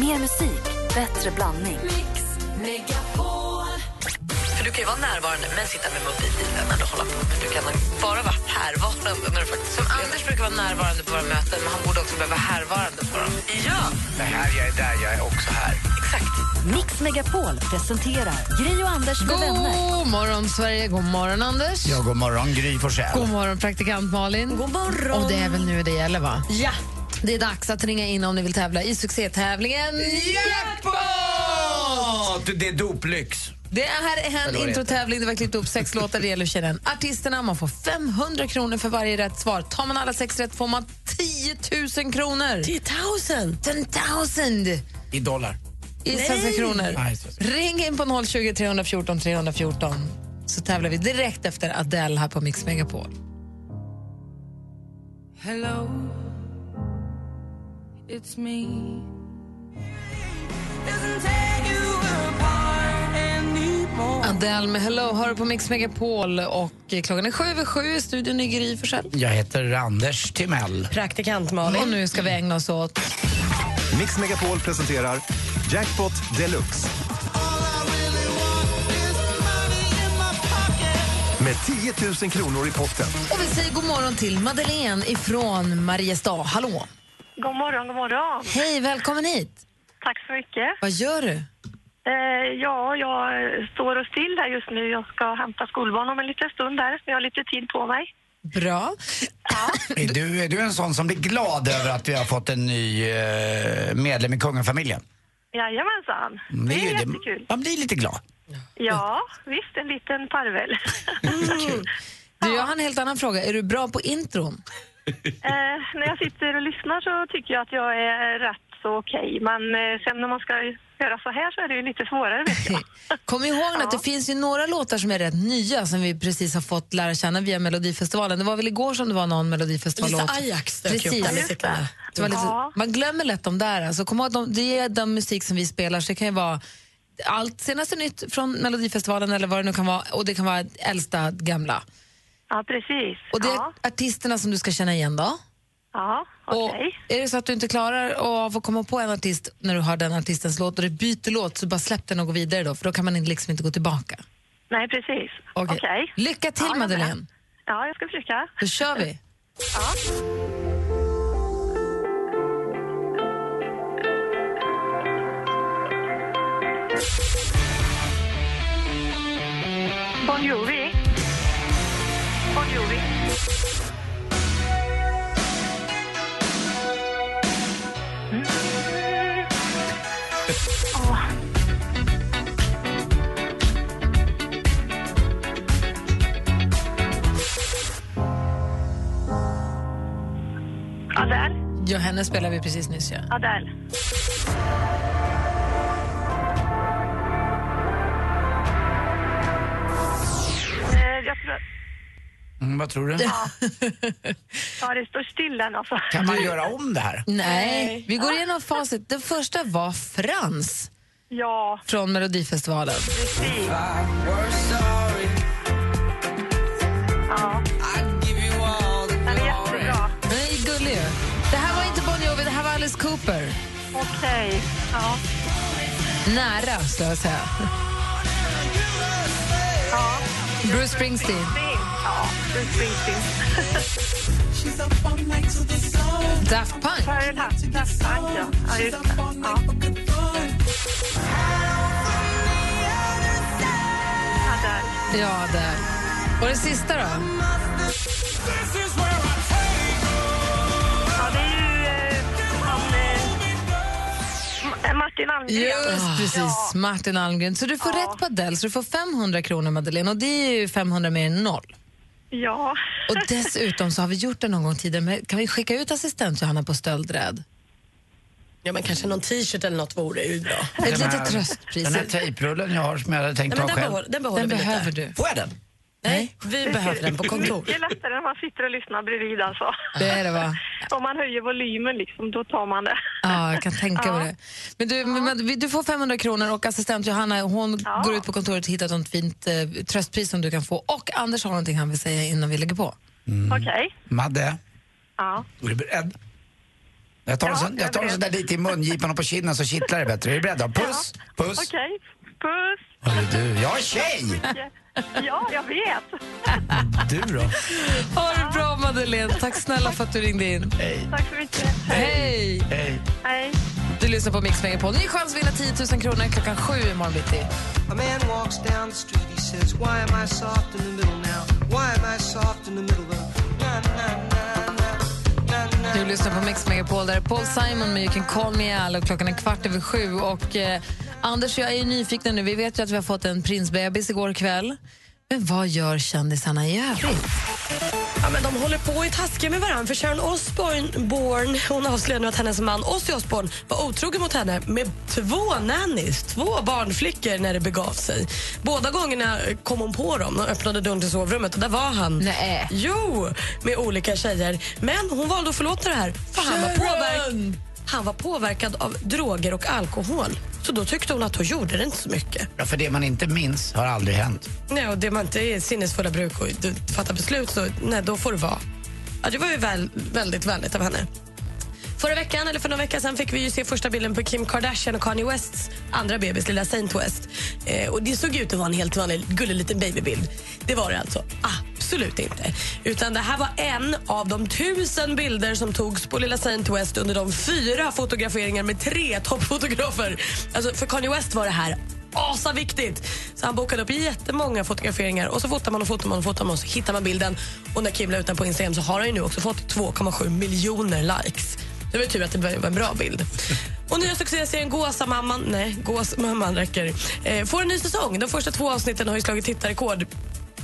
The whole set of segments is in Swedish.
Mer musik, bättre blandning. Mix Megapol. För du kan ju vara närvarande men sitta med mobilen eller hålla på. Men du kan bara vara härvarande när du faktiskt Som Anders brukar vara närvarande på våra möten, men han borde också behöva vara härvarande på dem. Ja, Det här, jag är där, jag är också här. exakt. Mix Megapol presenterar Gry och Anders med vänner. God morgon, Sverige. God morgon, Anders. Ja, god morgon, Gry Forssell. God morgon, praktikant Malin. God morgon. Och det är väl nu det gäller, va? Ja. Det är dags att ringa in om ni vill tävla i succétävlingen Jackpot! Det är doplyx. Det här är en vad det introtävling där vi har klippt upp sex låtar. Det gäller att känna igen artisterna. Man får 500 kronor för varje rätt svar. Tar man alla sex rätt får man 10 000 kronor. 10 000? 10 000! I dollar. i svenska kronor. Nej, svenska. Ring in på 020 314 314 så tävlar vi direkt efter Adele här på Mix Megapol. Hello, it's me. Doesn't tear you apart anymore. Adele med Hello hör du på Mix Megapol och klockan är sju över sju i studion i Gry Forssell. Jag heter Anders Timell. Praktikant Och nu ska vi ägna oss åt Mix Megapol presenterar Jackpot Deluxe. Med 10 000 kronor i potten. och vi säger god morgon till Madeleine ifrån Mariestad. Hallå! God morgon, god morgon. Hej, välkommen hit! Tack så mycket. Vad gör du? Eh, ja, jag eh, står och still här just nu. Jag ska hämta skolbarn om en liten stund där. Jag har lite tid på mig. Bra. Är du, är du en sån som blir glad över att vi har fått en ny eh, medlem i kungafamiljen? Jajamensan. Det Mm, ju är jättekul. Man blir lite glad. Ja, visst, en liten parvel. Du, jag har en helt annan fråga. Är du bra på intron? eh, när jag sitter och lyssnar så tycker jag att jag är rätt så okej. Men eh, sen när man ska göra så här så är det ju lite svårare, vet jag. Kom ihåg att det finns ju några låtar som är rätt nya som vi precis har fått lära känna via Melodifestivalen. Det var väl igår som det var någon Melodifestivallåt? Lisa Ajax dök ju upp där med Precis. sitt lilla... Det var lite, Ja. man glömmer lätt de där. Alltså, kom ihåg att de, det är den musik som vi spelar så det kan ju vara allt senaste nytt från Melodifestivalen eller vad det nu kan vara och det kan vara äldsta gamla. Ja, precis. Och det är Ja, artisterna som du ska känna igen då. ja Och okej. är det så att du inte klarar av att komma på en artist när du har den artistens låt och du byter låt så bara släpp den och gå vidare då för då kan man liksom inte gå tillbaka. Nej, precis. Okej. Okej. Lycka Ja, till jag är med. Madeleine. Ja, jag ska försöka. Då kör vi. Bon Jovi. Bon Jovi. Mm. Oh. Adele, Ja, henne spelar vi precis nyss. Ja. Adele. Eh, Jag tror Mm, vad tror du? Ja, det står still än alltså. Kan man göra om det här? Nej, vi går igenom facit. Den första var Frans Ja, från Melodifestivalen. precis. We're sorry. Ja, I'd give you all the den är jättebra. Den är gullig ju. Det här var inte Bon Jovi, det här var Alice Cooper. Okej. Ja, Nära, skulle jag säga. ja. Bruce Springsteen. Fin. Ja, Bruce Springsteen. She's up all night to the sun. Daft Punk. Pearl Hut, Daft Punk, ja. Ja, She's just up det. all Ja, night for good fun. ja, där. Ja, där. Och den sista då? This is where I take Ja, det är ju eh, han... Eh, M- Martin Almgren. Ah. Ah. Just precis, Martin Almgren. Så du får rätt på Adele, så du får 500 kronor, Madeleine. Och det är ju 500 mer än noll. Ja. Och dessutom så har vi gjort det någon gång tidigare, men kan vi skicka ut assistent Johanna på stöldrädd? Ja, men kanske någon t-shirt eller något vore ju bra. Ett Den här- litet tröstpris. Den här tejprullen jag har som jag hade tänkt Nej, men ta den, själv. behåller, den behåller Den vi behöver lite. du. Får jag den? Nej, vi behöver den på kontor. Det är lättare när man sitter och lyssnar bredvid alltså. Det är det, va? Om man höjer volymen liksom, då tar man det. Ja, jag kan tänka mig Ja. det. Men du, men, men du får 500 kronor och assistent Johanna hon Ja. går ut på kontoret och hittar ett fint eh, tröstpris som du kan få. Och Anders har någonting han vill säga innan vi lägger på. Okej. Madde, Ja. är du beredd? Jag tar, en Ja, sån, jag jag tar en vet. sån där lite i mungipan och på kinden så kittlar det bättre. Är du beredd då? Puss! Puss! Okej, puss! Hörru du, jag är tjej! Ja, jag vet. Du då? Ha det bra, Madeleine. Tack snälla för att du ringde in. Tack så mycket. Hej! Hej. Hej. Du lyssnar på Mix Megapol. Ny chans att vinna 10 000 kronor klockan sju i morgon bitti. A man walks down the street, he says, Why am I soft in the middle now? Why am I soft in the middle of na na na na na na Du lyssnar på Mix Megapol. Där är Paul Simon med You can call me Al och klockan är kvart över sju. Och, eh, Anders, jag är ju nyfiken nu. Vi vet ju att vi har fått en prinsbebis igår kväll. Men vad gör kändisarna i övrigt? Ja, men de håller på och är taskiga med varandra. För Sharon Osbourne, Bourne, hon avslöjar nu att hennes man Ozzy Osbourne var otrogen mot henne med två nannies, två barnflickor när det begav sig. Båda gångerna kom hon på dem och öppnade dörren till sovrummet och där var han. Nej. Jo, med olika tjejer. Men hon valde att förlåta det här för han var, påverk- han var påverkad av droger och alkohol. Så då tyckte hon att hon gjorde det inte så mycket. Ja, för det man inte minns har aldrig hänt. Nej, och det man inte är sinnesfulla bruk och du fattar beslut, så nej, då får det vara. Ja, det var ju väl, väldigt vänligt av henne. Förra veckan, eller för några veckor sedan, fick vi ju se första bilden på Kim Kardashian och Kanye Wests andra bebis, lilla Saint West. Eh, och det såg ut att vara en helt vanlig gullig liten babybild. Det var det alltså absolut inte. Utan det här var en av de tusen bilder som togs på lilla Saint West under de fyra fotograferingar med tre toppfotografer. Alltså, för Kanye West var det här asaviktigt. Så han bokade upp jättemånga fotograferingar och så fotar man och fotar man och fotar man och så hittar man bilden. Och när Kim la ut den på Instagram så har han ju nu också fått 2,7 miljoner likes. Det var ju tur att det var en bra bild. Och nya succéserien Gåsamamman, nej, Gåsmamman räcker, eh, får en ny säsong. De första två avsnitten har ju slagit tittarrekord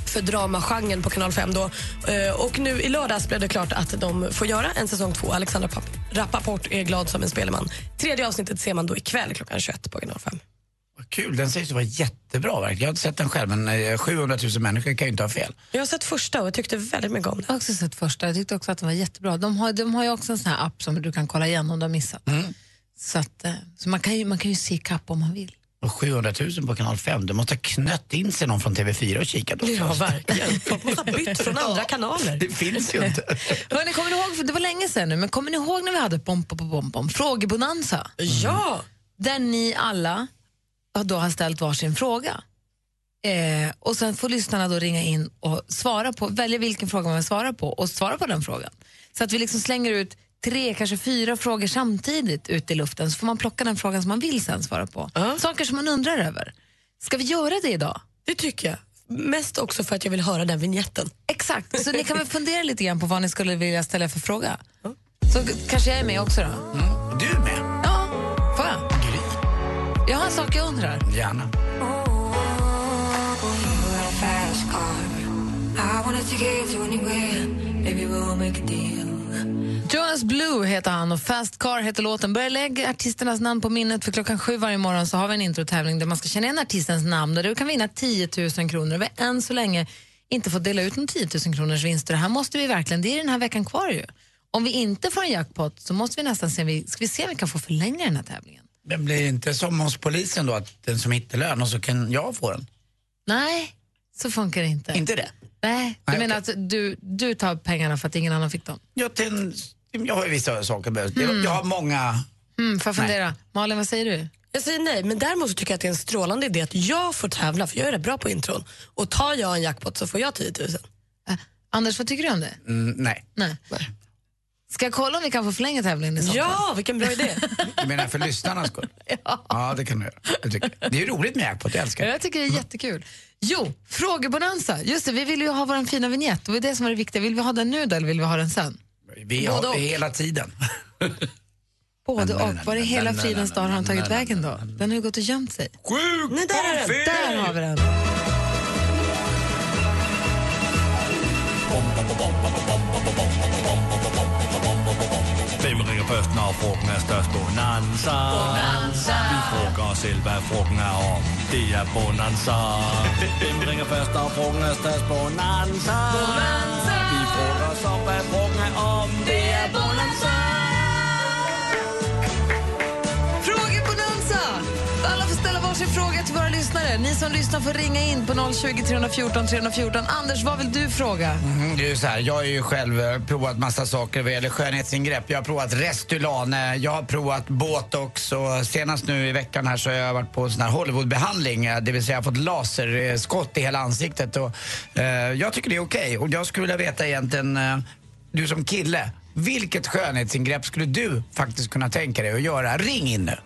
för dramagenren på Kanal 5. Då. Eh, Och nu i lördags blev det klart att de får göra en säsong två. Alexandra Papp- Rappaport är glad som en spelman. Tredje avsnittet ser man då ikväll klockan 21 på Kanal 5. Vad kul, den sägs ju vara jättebra verkligen. Jag har inte sett den själv men eh, 700 000 människor kan ju inte ha fel. Jag har sett första och jag tyckte väldigt mycket om den. Jag har också sett första. Jag tyckte också att den var jättebra. De har, de har ju också en sån här app som du kan kolla igen om du har missat. Så, att, eh, så man, kan ju, man kan ju se kapp om man vill. Och 700 000 på kanal 5, det måste ha knött in sig någon från TV4 och kikat också. Ja, verkligen. Folk måste ha bytt från andra kanaler. Det finns ju inte. Hörrni, kommer ni ihåg, för det var länge sedan nu, men kommer ni ihåg när vi hade bom, bom, bom, bom, frågebonanza? Ja! Där ni alla har då har ställt varsin fråga. Eh, och sen får lyssnarna då ringa in och svara på, välja vilken fråga man vill svara på och svara på den frågan. Så att vi liksom slänger ut tre, kanske fyra frågor samtidigt ut i luften så får man plocka den frågan som man vill sen svara på. Saker som man undrar över. Ska vi göra det idag? Det tycker jag. Mest också för att jag vill höra den vignetten. Exakt, så ni kan väl fundera lite grann på vad ni skulle vilja ställa för fråga. Så k- kanske jag är med också då? Du är med, Ja, får jag? Jag har en sak jag undrar. gärna. Jonas Blue heter han och Fast Car heter låten. Börja lägga artisternas namn på minnet för klockan sju varje morgon så har vi en introtävling där man ska känna igen artistens namn och du kan vinna 10 000 kronor. Vi har än så länge inte fått dela ut någon 10 000 kronors vinster. Det här måste vi verkligen, det är den här veckan kvar ju. Om vi inte får en jackpot så måste vi nästan se, om vi- ska vi se om vi kan få förlänga den här tävlingen. Men blir det inte som hos polisen då, att den som hittar lön och så kan jag få den? Nej, så funkar det inte. Inte det? Nej, du Nej, menar att du, du tar pengarna för att ingen annan fick dem? Jag, till, jag har ju vissa saker behövt. Jag har många... Mm, får jag fundera? Malin, vad säger du? Jag säger nej, men däremot så tycker jag att det är en strålande idé att jag får tävla, för jag är rätt bra på intron. Och tar jag en jackpot så får jag 10 000. Eh, Anders, vad tycker du om det? Mm, nej. Nej. Ska jag kolla om vi kan få förlänga tävlingen i så fall? Ja, vilken bra idé! Du menar för lyssnarnas skull? ja. det kan du göra. Jag tycker- Det är ju roligt med jackpot, jag älskar det. Jag tycker det är jättekul. Jo, frågebonanza. Just det, vi ville ju ha vår fina vignett. Det var det som var det viktiga. Vill vi ha den nu då, eller vill vi ha den sen? Vi Både har och. det hela tiden. Både och. Var i hela Nej, nej, fridens nej, dag har han nej, tagit nej, vägen då? Den har ju gått och gömt sig. Sjukt Nej, där är den! Där har vi den. Hvem ringer først, når frugten er størst? Bonanza. Bonanza. Vi frugger os selv, hvad frugten er om. Det er Bonanza. Hvem ringer først, når frugten er størst? Bonanza. Bonanza. Vi frugger os op, hvad frugten er om. Det er Bonanza. Frågebonanza! Alla får ställa varsin varsin fråga till våra lyssnare. Ni som lyssnar får ringa in på 020 314 314. Anders, vad vill du fråga? Mm, det är ju så här, jag har ju själv eh, provat massa saker vad gäller skönhetsingrepp. Jag har provat Restylane, jag har provat Botox och senast nu i veckan här så har jag varit på sån här Hollywoodbehandling, eh, det vill säga jag har fått laserskott i hela ansiktet. Och, eh, jag tycker det är okej och jag skulle vilja veta egentligen, eh, du som kille, vilket skönhetsingrepp skulle du faktiskt kunna tänka dig att göra? Ring in nu!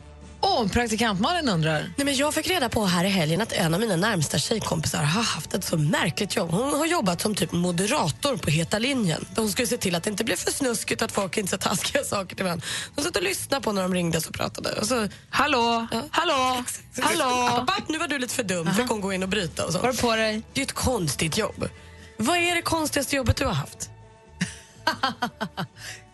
Åh, oh, praktikantmannen undrar. Nej, men jag fick reda på här i helgen att en av mina närmsta tjejkompisar har haft ett så märkligt jobb. Hon har jobbat som typ moderator på Heta linjen. Där hon skulle se till att det inte blev för snuskigt och att folk inte sa taskiga saker till varandra. Hon satt och lyssnade på när de ringde och så pratade. Och så, hallå, hallå, hallå. Bart, nu var du lite för dum. Fick hon gå in och bryta och så. Var på dig? Det är ett konstigt jobb. Vad är det konstigaste jobbet du har haft?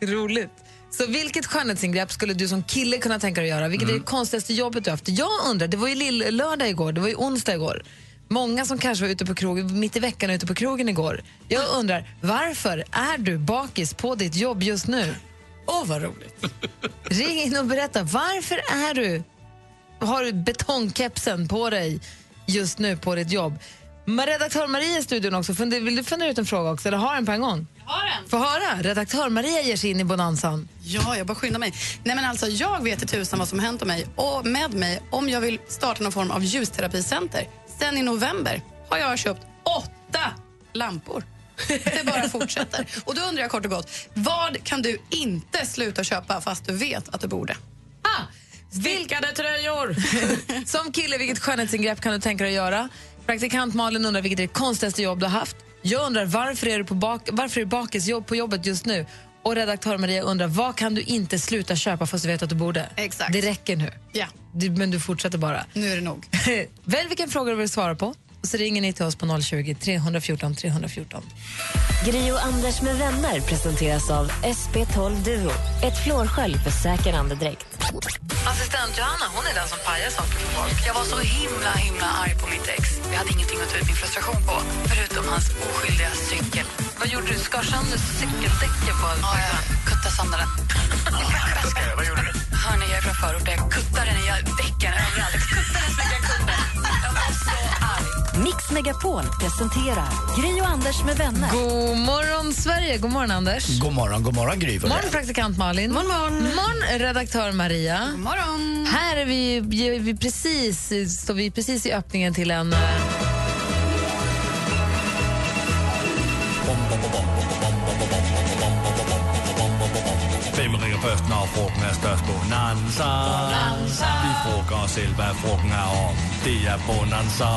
Roligt. Så vilket skönhetsingrepp skulle du som kille kunna tänka dig att göra? Vilket är det konstigaste jobbet du haft? Jag undrar, det var ju lill- lördag igår, det var ju onsdag igår. Många som kanske var ute på krogen, mitt i veckan ute på krogen igår. Jag undrar, varför är du bakis på ditt jobb just nu? Åh, vad roligt. Ring in och berätta, varför är du, har du betongkepsen på dig just nu på ditt jobb? Men Redaktör Maria i studion också, Funde- vill du fundera ut en fråga också? Eller har en på en gång? Har den? Få höra, redaktör Maria ger sig in i bonanzan. Ja, jag bara skyndar mig. Nej, men alltså, jag vet i tusan vad som hänt om mig och med mig om jag vill starta någon form av ljusterapiscenter. Sen i november har jag köpt åtta lampor. Det bara fortsätter. Och då undrar jag kort och gott, vad kan du inte sluta köpa fast du vet att du borde? Vilkade tröjor! Som kille, vilket skönhetsingrepp kan du tänka dig att göra? Praktikant Malin undrar vilket är det konstigaste jobb du har haft. Jag undrar varför är du på bak- varför är du bakis jobb på jobbet just nu? Och redaktör Maria undrar vad kan du inte sluta köpa fast du vet att du borde? Exakt. Det räcker nu. Ja. Du, men du fortsätter bara. Nu är det nog. Välj vilken fråga du vill svara på och så ringer ni till oss på 020 314 314. Gri och Anders med vänner presenteras av SP12 Duo. Ett flårskölj för säker andedräkt. Assistent Johanna hon är den som pajar saker för folk. Jag var så himla himla arg på mitt ex. Jag hade ingenting att ta ut min frustration på, förutom hans oskyldiga cykel. Vad gjorde du? Skar sönder cykeldäcken på en Ja, jag kuttade sönder den. Vad gjorde du? Hörni, jag är från förorten. Jag kuttade den i däcken överallt. Jag Kuttade så mycket jag kunde. Jag var så arg. Mix Megapol presenterar Gri och Anders med vänner. God morgon, Sverige! God morgon, Anders. God morgon, god morgon Gry. Morgon, praktikant Malin. Morgon, morgon. redaktör Maria. morgon. Här är vi, vi, vi precis, står vi precis i öppningen till en... eh, Vem ringer först när frågan är störst? Bonanza. Vi frågar oss själva vad frågan är om. Det är bonanza.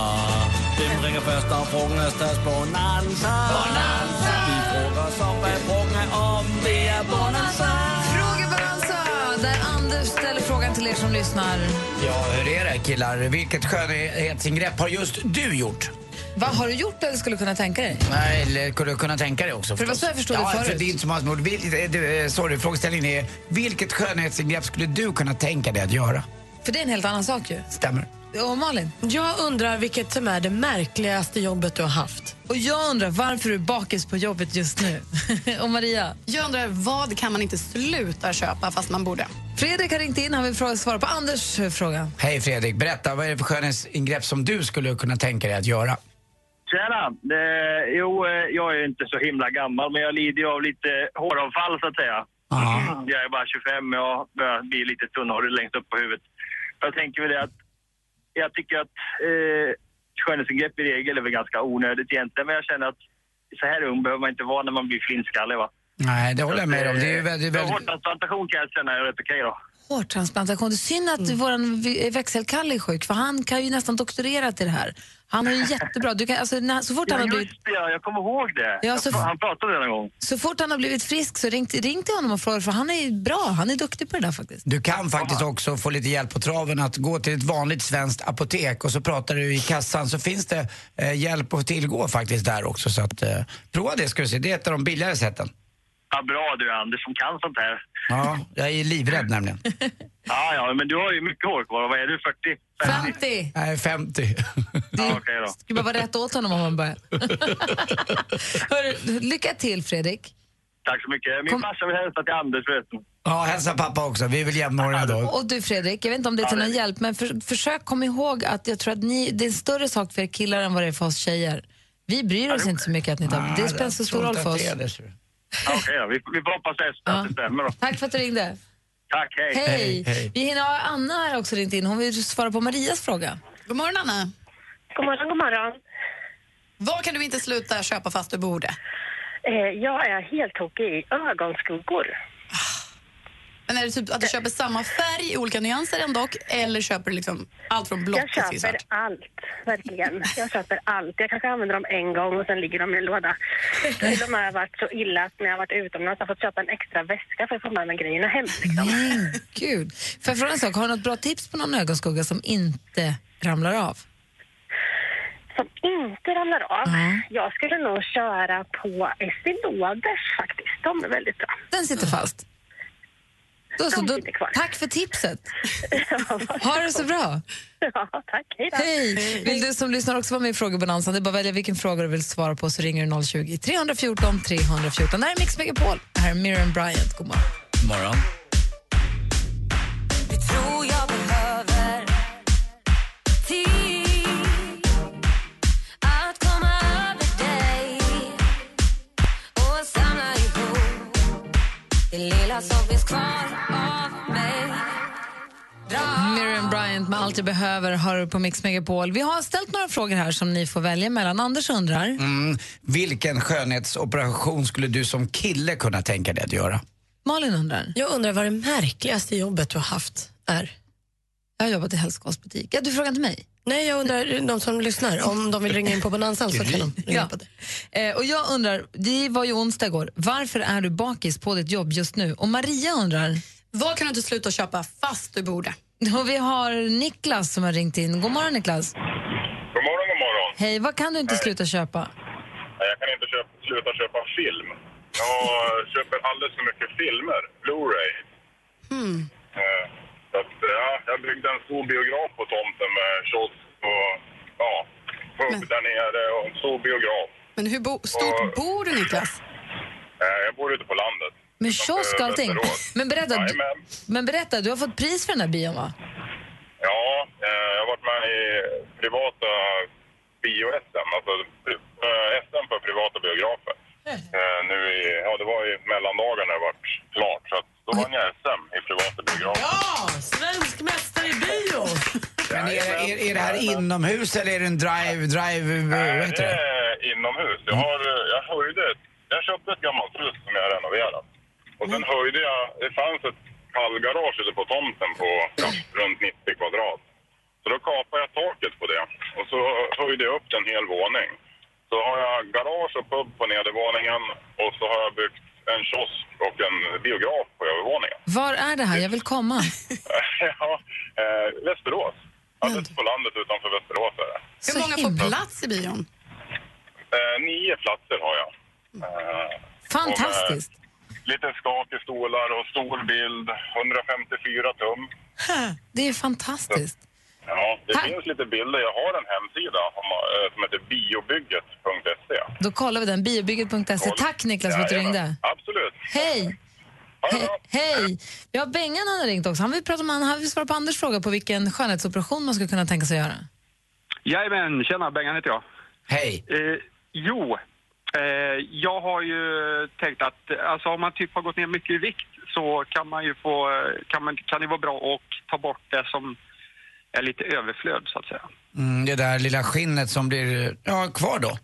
Vem ringer först när frågan är störst? Bonanza. Vi frågar oss om vad frågan är om. Det är bonanza. Frågebalansa, där Anders ställer frågan till er som lyssnar. Ja, hur är det killar? Vilket skönhetsingrepp har just du gjort? Vad har du gjort eller skulle kunna tänka dig? Nej, eller skulle du kunna tänka dig också? För det var förstås? så jag förstod det ja, förut. För det är inte så många som har gjort. Vilket- eh, du, eh, Sorry, frågeställningen är vilket skönhetsingrepp skulle du kunna tänka dig att göra? För det är en helt annan sak ju. Stämmer. Och Malin? Jag undrar vilket som är det märkligaste jobbet du har haft. Och jag undrar varför du är bakis på jobbet just nu. och Maria? Jag undrar, vad kan man inte sluta köpa fast man borde? Fredrik har ringt in, han vill fråga- svara på Anders eh, fråga. Hej Fredrik, berätta vad är det för skönhetsingrepp som du skulle kunna tänka dig att göra? Tjena! Eh, jo, eh, jag är ju inte så himla gammal, men jag lider ju av lite håravfall så att säga. Jag är bara 25 och jag börjar bli lite tunnhårig längst upp på huvudet. Jag tänker väl det att jag tycker att eh, skönhetsingrepp i regel är väl ganska onödigt egentligen, men jag känner att så här ung behöver man inte vara när man blir flintskallig va. Nej, det håller jag med om. Det är ju Eh, väldigt, så väldigt... Hårtransplantation kan jag känna är rätt okej då. Hårtransplantation. Det är synd att vår växelkalle är sjuk, för han kan ju nästan doktorera till det här. Han har ju jättebra... Du kan, alltså, när, så fort Ja, han har blivit... just det, ja, jag kommer ihåg det. Ja, Jag så- pra- Han pratade om det någon gång. Så fort han har blivit frisk så ring, ring till honom och fråga för han är ju bra, han är duktig på det där faktiskt. Du kan faktiskt också få lite hjälp på traven att gå till ett vanligt svenskt apotek och så pratar du i kassan så finns det eh, hjälp att tillgå faktiskt där också. Så att, eh, prova det ska du se, det är ett av de billigare sätten. Ja, bra du Anders som kan sånt här. Ja, jag är livrädd nämligen. Ja, ja, men du har ju mycket hår kvar. Vad är du, 40? 50! Nej, 50. Ja, okej då. Skulle bara vara rätt åt honom om han börjar. Hör, lycka till Fredrik. Tack så mycket. Min farsa vill hälsa till Anders förresten. Ja, hälsa pappa också. Vi är väl jämnåriga då. Och du Fredrik, jag vet inte om det är till någon hjälp, men för, försök komma ihåg att jag tror att ni, det är en större sak för er killar än vad det är för oss tjejer. Vi bryr oss inte så mycket att ni tar Ah, Det spelar inte så stor roll för oss. Ja, Okej då, vi, vi får hoppas det, att det stämmer då. Tack för att du ringde. Tack, hej. Hej. Vi hinner ha Anna här också ringt in. Hon vill svara på Marias fråga. God morgon, Anna. God morgon, god morgon. Vad kan du inte sluta köpa fast du borde? Eh, jag är helt tokig i ögonskuggor. Men är det typ att du köper samma färg i olika nyanser ändå, eller köper du liksom allt från blått Jag till köper svart? allt, verkligen. Jag köper allt. Jag kanske använder dem en gång och sen ligger de i en låda. Till och med har jag varit så illa att när jag har varit utomlands har jag fått köpa en extra väska för att få med mig grejerna hem. Men gud. Får jag fråga en sak? Har du något bra tips på någon ögonskugga som inte ramlar av? Som inte ramlar av. Mm. Jag skulle nog köra på Essiloders faktiskt. De är väldigt bra. Den sitter fast. Då, så, då, tack för tipset. Ha det så bra. Ja, tack. Hej då. Hej! Vill du som lyssnar också vara med i Frågebonanza? Det är bara att välja vilken fråga du vill svara på så ringer du 020-314 314. Det här är Mix Megapol. Det här är Miriam Bryant. God morgon. Morgon. Du tror jag behöver tid att komma över dig och samla ihop det lilla som finns kvar av mig Miriam Bryant med Allt jag behöver har du på Mix Megapol. Vi har ställt några frågor här som ni får välja mellan. Anders undrar. Mm, vilken skönhetsoperation skulle du som kille kunna tänka dig att göra? Malin undrar. Jag undrar vad det märkligaste jobbet du har haft är. Jag har jobbat i hälsokostbutik. Ja, du frågar inte mig? Nej, jag undrar de som lyssnar. Om de vill ringa in på Bonanzan så kan de ringa Ja. på det. Eh, och jag undrar, det var ju onsdag igår. Varför är du bakis på ditt jobb just nu? Och Maria undrar. Vad kan du inte sluta köpa fast du borde? Och vi har Niklas som har ringt in. God morgon Niklas. God morgon, god morgon. Hej, vad kan du inte sluta köpa? Nej, Jag kan inte köpa, sluta köpa film. Jag köper alldeles för mycket filmer, Blu-ray. Hmm. Eh, Så att, ja, jag byggde en stor biograf på tomten med kiosk och ja, pub där nere och en stor biograf. Men hur bo- stort bor du, Niklas? Eh, Jag bor ute på landet. Med kiosk och allting? Men berätta, du, Eh, Jajamän. men berätta, du har fått pris för den här bion va? Ja, eh, jag har varit med i privata bio-SM, alltså pri- eh, SM för privata biografer. Eh, Nu i, ja, det var i mellandagarna det vart klart, så att då vann jag SM i privata biografer. Ja, svensk mästare i bio! Men är, är, är det här inomhus eller är det en drive, drive, vad heter Det det? är inomhus. Jag, har, eh, jag höjde ett, jag köpte ett gammalt hus som jag har renoverat. Och sen höjde jag, det fanns ett kallgarage ute på tomten på ja, runt 90 kvadrat. Så då kapade jag taket på det och så höjde jag upp en hel våning. Så har jag garage och pub på nedervåningen och så har jag byggt en kiosk och en biograf på övervåningen. Var är det här? Jag vill komma. ja, eh, Västerås. Alldeles på landet utanför Västerås är det. Hur många får plats i bion? Eh, nio platser har jag. Eh, Fantastiskt. och med Lite skak i stolar och stor bild, 154 tum. Det är fantastiskt. Ja, det finns lite bilder. Jag har en hemsida om, eh, som heter biobygget.se. Då kollar vi den. Biobygget.se. E. Tack Niklas för att du Jajamän. ringde. Absolut. Hej! He- Hej! Vi har Bengan han har ringt också. Han vill, prata om, han vill svara på Anders fråga på vilken skönhetsoperation man skulle kunna tänka sig göra. Jajamän, tjena, Bengan heter jag. Hej. Eh, jo, eh, jag har ju tänkt att eh, alltså, om man typ har gått ner mycket i vikt så kan man ju få, eh, kan, man, kan det vara bra att ta bort det som är lite överflöd så att säga. Mm, det där lilla skinnet som blir ja, kvar då?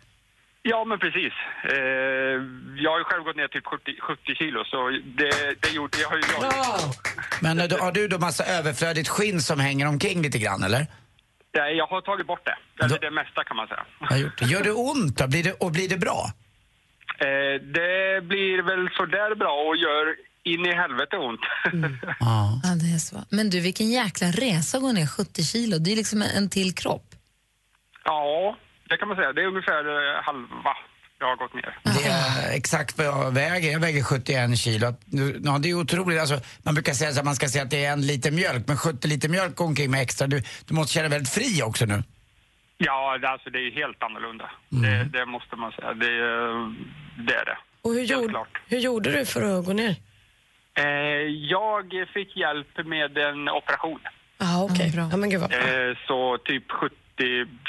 Ja, men precis. Eh, jag har ju själv gått ner typ 70, 70 kilo så det, det gjorde jag har ju jag. Men eh, då, har du då massa överflödigt skinn som hänger omkring lite grann eller? Nej, jag har tagit bort det. Eller det mesta kan man säga. Jag har gjort det. Gör det ont då? Blir det, och blir det bra? Eh, det blir väl sådär bra och gör in i helvete ont. Mm. Ja, det är så. Men du, vilken jäkla resa att gå ner 70 kilo. Det är liksom en, en till kropp. Ja, det kan man säga. Det är ungefär eh, halva jag har gått ner. Mm. Det är exakt vad jag väger. Jag väger 71 kilo. Nu- Ja, det är otroligt. Alltså, man brukar säga att man ska säga att det är en liter mjölk, men 70 liter mjölk går omkring med extra. Du, du måste känna dig väldigt fri också nu. Mm. Ja, eh, det- alltså det är helt annorlunda. Det, det måste man säga. Det, är- det är det. Och hur, gjorde, hur gjorde du för att gå ner? Eh, jag fick hjälp med en operation. Ah, okej. Ja, men gud vad bra. Eh, så typ 70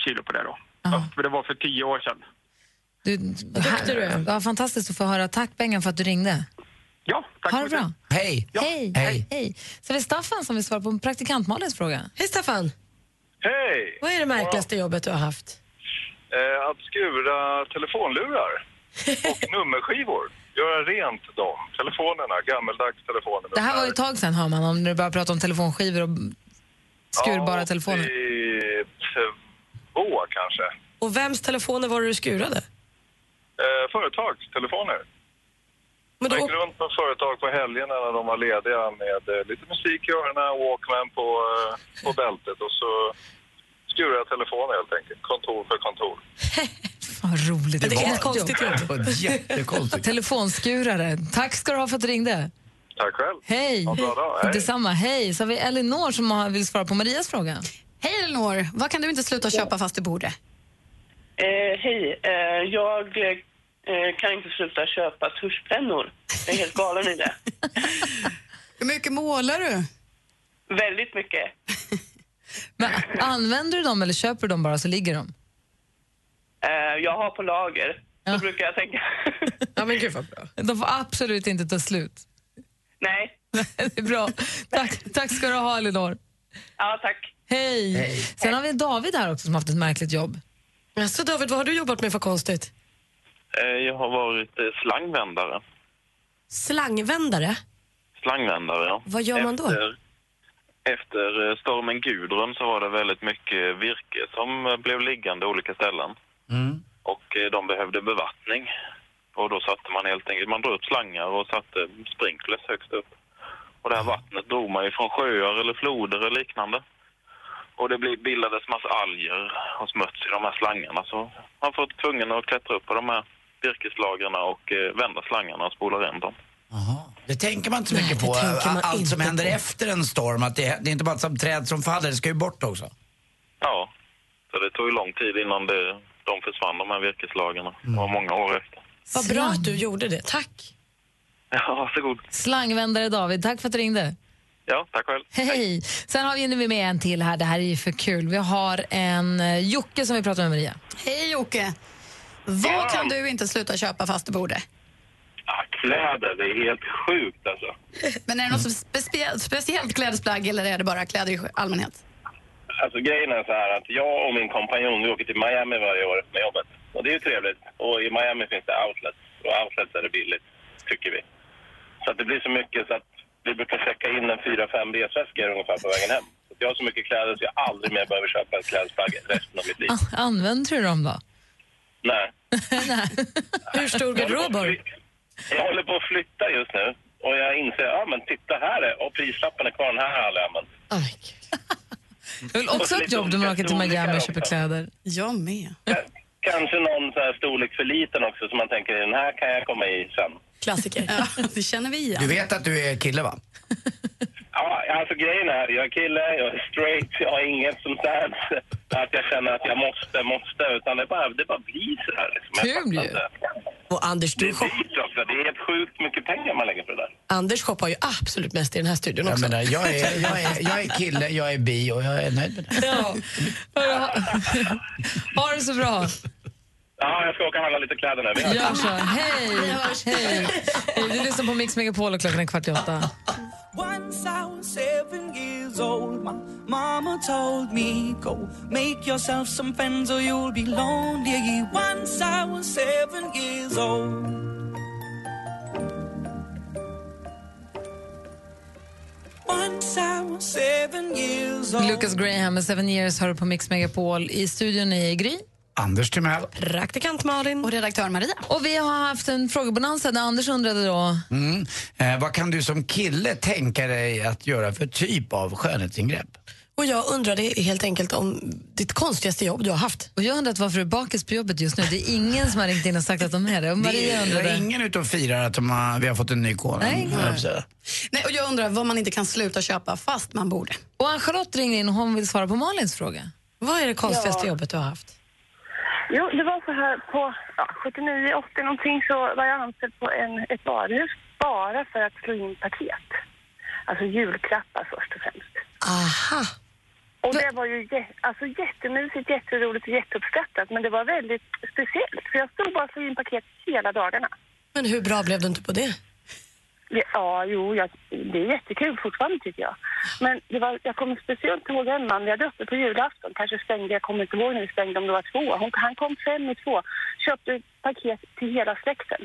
kilo på det då. Fast det var för tio år sedan. Du, vad duktig du är. Ja, fantastiskt att få höra. Tack Bengan för att du ringde. Ja, tack ha det bra. Hej. Hej. Hej. Hej. Så har vi Staffan som vill svara på praktikant Malins fråga. Hej Staffan! Hej! Vad är det märkligaste jobbet du har haft? Eh, att skura telefonlurar och nummerskivor. Göra rent dem, telefonerna, gammeldags telefoner. Det här var ju ett tag sedan hör man, om när du började prata om telefonskivor och skurbara Ja, telefoner. i Två kanske. Och vems telefoner var det du skurade? Eh, företagstelefoner. Men då... Jag gick runt på företag på helgerna när de var lediga med eh, lite musik i öronen, Walkman på, eh, på bältet och så skurade jag telefoner helt enkelt, kontor för kontor. Vad roligt. Det är ett var. konstigt jobb. Det var jättekonstigt. Telefonskurare. Tack ska du ha för att du ringde. Tack själv. Hej. Ha en bra dag. Hej. Detsamma. Hej. Så har vi Elinor som har- vill svara på Marias fråga. Hej Elinor, vad kan du inte sluta köpa fast du borde? Eh, hej, eh, jag eh, kan inte sluta köpa tuschpennor. Jag är helt galen i det. Hur mycket målar du? Väldigt mycket. Men använder du dem eller köper du dem bara så ligger de? Eh, jag har på lager, så brukar jag tänka. ja, men gud vad bra. De får absolut inte ta slut. Nej. det är bra. Tack, tack ska du ha, Elinor. Ja, tack. Hej. Sen har vi David här också som har haft ett märkligt jobb. Jaså David, vad har du jobbat med för konstigt? Eh, Jag har varit eh, slangvändare. Slangvändare? Slangvändare, ja. Vad gör man då? Efter, efter eh, stormen Gudrun så var det väldigt mycket virke som eh, blev liggande i olika ställen. Och eh, de behövde bevattning. Och då satte man helt enkelt, man drog upp slangar och satte sprinklers högst upp. Och det här vattnet drog man ju från sjöar eller floder eller liknande. Och det bli- bildades massa alger och smuts i de här slangarna så man får tvungen att klättra upp på de här virkeslagren och eh, vända slangarna och spola rent dem. Det tänker man inte så mycket på, allt som händer efter en storm. Att det, det är inte bara ett träd som faller, det ska ju bort också. Ja, så det tog ju lång tid innan det, de försvann, de här virkeslagarna. Det var många år efter. Vad bra att du gjorde det. Tack. Ja, varsågod. Slangvändare David, tack för att du ringde. Ja, tack själv. Hej. Sen har vi nu med en till här. Det här är ju för kul. Vi har en eh, Jocke som vi pratar med Maria. Hej Jocke! Vad kan du inte sluta köpa fast du borde? Kläder, det är helt sjukt alltså. Men är det något specie- speciellt klädesplagg eller är det bara kläder i allmänhet? Alltså grejen är så här att jag och min kompanjon, vi åker till Miami varje år med jobbet. Och det är ju trevligt. Och i Miami finns det outlets. Och outlets är det billigt, tycker vi. Så att det blir så mycket så att vi brukar checka in en fyra, fem resväskor ungefär på vägen hem. Så att jag har så mycket kläder så jag aldrig mer behöver köpa ett klädesplagg resten av mitt liv. An- Ah, använder du dem då? Nej. Hur stor garderob har du? Jag håller på att flytta just nu. Och jag inser, ja men titta här är, och prislappen är kvar, den här har jag aldrig använt. Jag vill också ha ett jobb där man åker till Miami och köper kläder. Jag med. Kanske någon så här storlek för liten också, som man tänker den här kan jag komma i sen. Klassiker. Ja, det känner vi igen. Du vet att du är kille va? Ja, alltså grejen är, jag är kille, jag är straight, jag har inget sånt där att jag känner att jag måste, måste, utan det bara, det bara blir så här. Liksom. Jag Kul fattar ju. inte. Och Anders, Det du är dyrt också, det är helt sjukt mycket pengar man lägger på det där. Anders shoppar ju absolut mest i den här studion Jag, också. menar, jag, är, jag, är, jag är kille, jag är bi och jag är nöjd med det. Ja. Ha, ha det så bra. Ja, jag ska åka och handla lite kläder nu. Vi hörs. Gör så. Hej. Hej. Hej. Du lyssnar på Mix Megapol och klockan är kvart i åtta. Once I was seven years old, my mama told me, Go make yourself some friends or you'll be lonely. Once I was seven years old. Once I was seven years old. Lucas Graham med Seven Years hör du på Mix Megapol. I studion är Gry. Anders Timell. Praktikant Malin. Och redaktör Maria. Och vi har haft en frågebonanza där Anders undrade då... Mm. Eh, vad kan du som kille tänka dig att göra för typ av skönhetsingrepp? Och jag undrade helt enkelt om ditt konstigaste jobb du har haft. Och jag har undrat varför du är bakis på jobbet just nu. Det är ingen som har ringt in och sagt att de är det. Och Det Maria är undrade... ingen utom firar att de har, vi har fått en ny konung. Nej. Nej. Nej, och jag undrar vad man inte kan sluta köpa fast man borde. Och Ann-Charlotte ringde in och hon vill svara på Malins fråga. Vad är det konstigaste Ja. jobbet du har haft? Jo, det var så här på ja, 79, 80 någonting så var jag anställd på en, ett varuhus bara för att slå in paket. Alltså julklappar först och främst. Aha. Och det var ju jä- alltså, jättemysigt, jätteroligt och jätteuppskattat men det var väldigt speciellt för jag stod bara och slog in paket hela dagarna. Men hur bra blev du inte på det? Ja, jo, jag, det är jättekul fortfarande tycker jag. Men det var, jag kommer speciellt ihåg en man vi hade uppe på julafton, kanske stängde, jag kommer inte ihåg när vi stängde om det var två. Hon, han kom fem i två, köpte ett paket till hela släkten.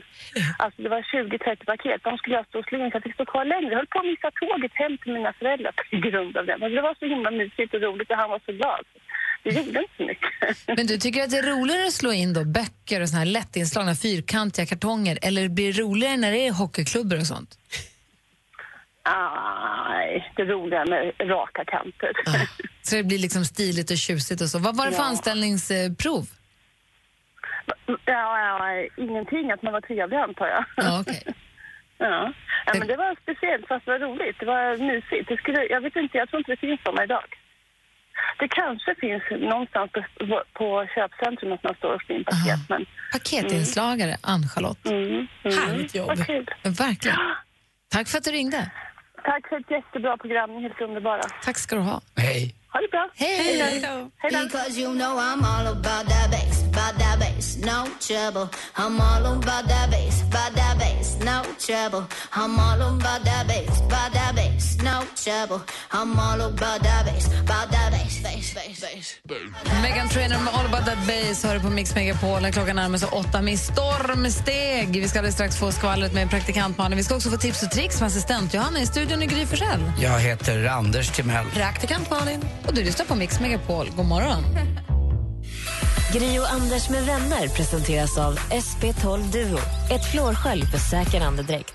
Alltså det var 20-30 paket, de skulle jag stå och slå in så jag fick stå kvar längre. Jag höll på att missa tåget hem till mina föräldrar på grund av det. Men det var så himla mysigt och roligt och han var så glad. Det gjorde inte så mycket. Men du tycker att det är roligare att slå in då böcker och såna här lättinslagna fyrkantiga kartonger eller blir det roligare när det är hockeyklubbor och sånt? Nej, det roliga med raka kanter. Så det blir liksom stiligt och tjusigt och så. Vad var det för Ja. anställningsprov? Ja, ja, ingenting. Att man var trevlig, antar jag. Ja, okej. ja. ja, men det var speciellt, fast det var roligt. Det var mysigt. Det skulle, jag vet inte, jag tror inte det finns såna idag. Det kanske finns någonstans på, på köpcentrum att man står och slår in paket, men... Mm. Paketinslagare, Ann-Charlotte. Härligt jobb. Vad kul. Men Verkligen. Tack för att du ringde. Tack för ett jättebra program. Ni är helt underbara. Tack ska du ha. Hej. Ha det bra. Hej. Hej då. Because you know I'm all about that bass, about that bass, no trouble. I'm all about that bass, about that bass, no trouble. I'm all about that bass, about that bass, no trouble. I'm all about that bass, about that bass, bass, bass, bass. Megan Trainor med All About That Bass hör du på Mix Megapol. När Klockan närmar sig åtta med stormsteg. Vi ska alldeles strax få skvallret med praktikant Malin. Vi ska också få tips och tricks med assistent Johanna i studion i Gry Forssell. Jag heter Anders Timell. Praktikant Malin. Och du lyssnar på Mix Megapol. God morgon. Gri och Anders med vänner presenteras av SP12 Duo. Ett flårskölj för säker andedräkt.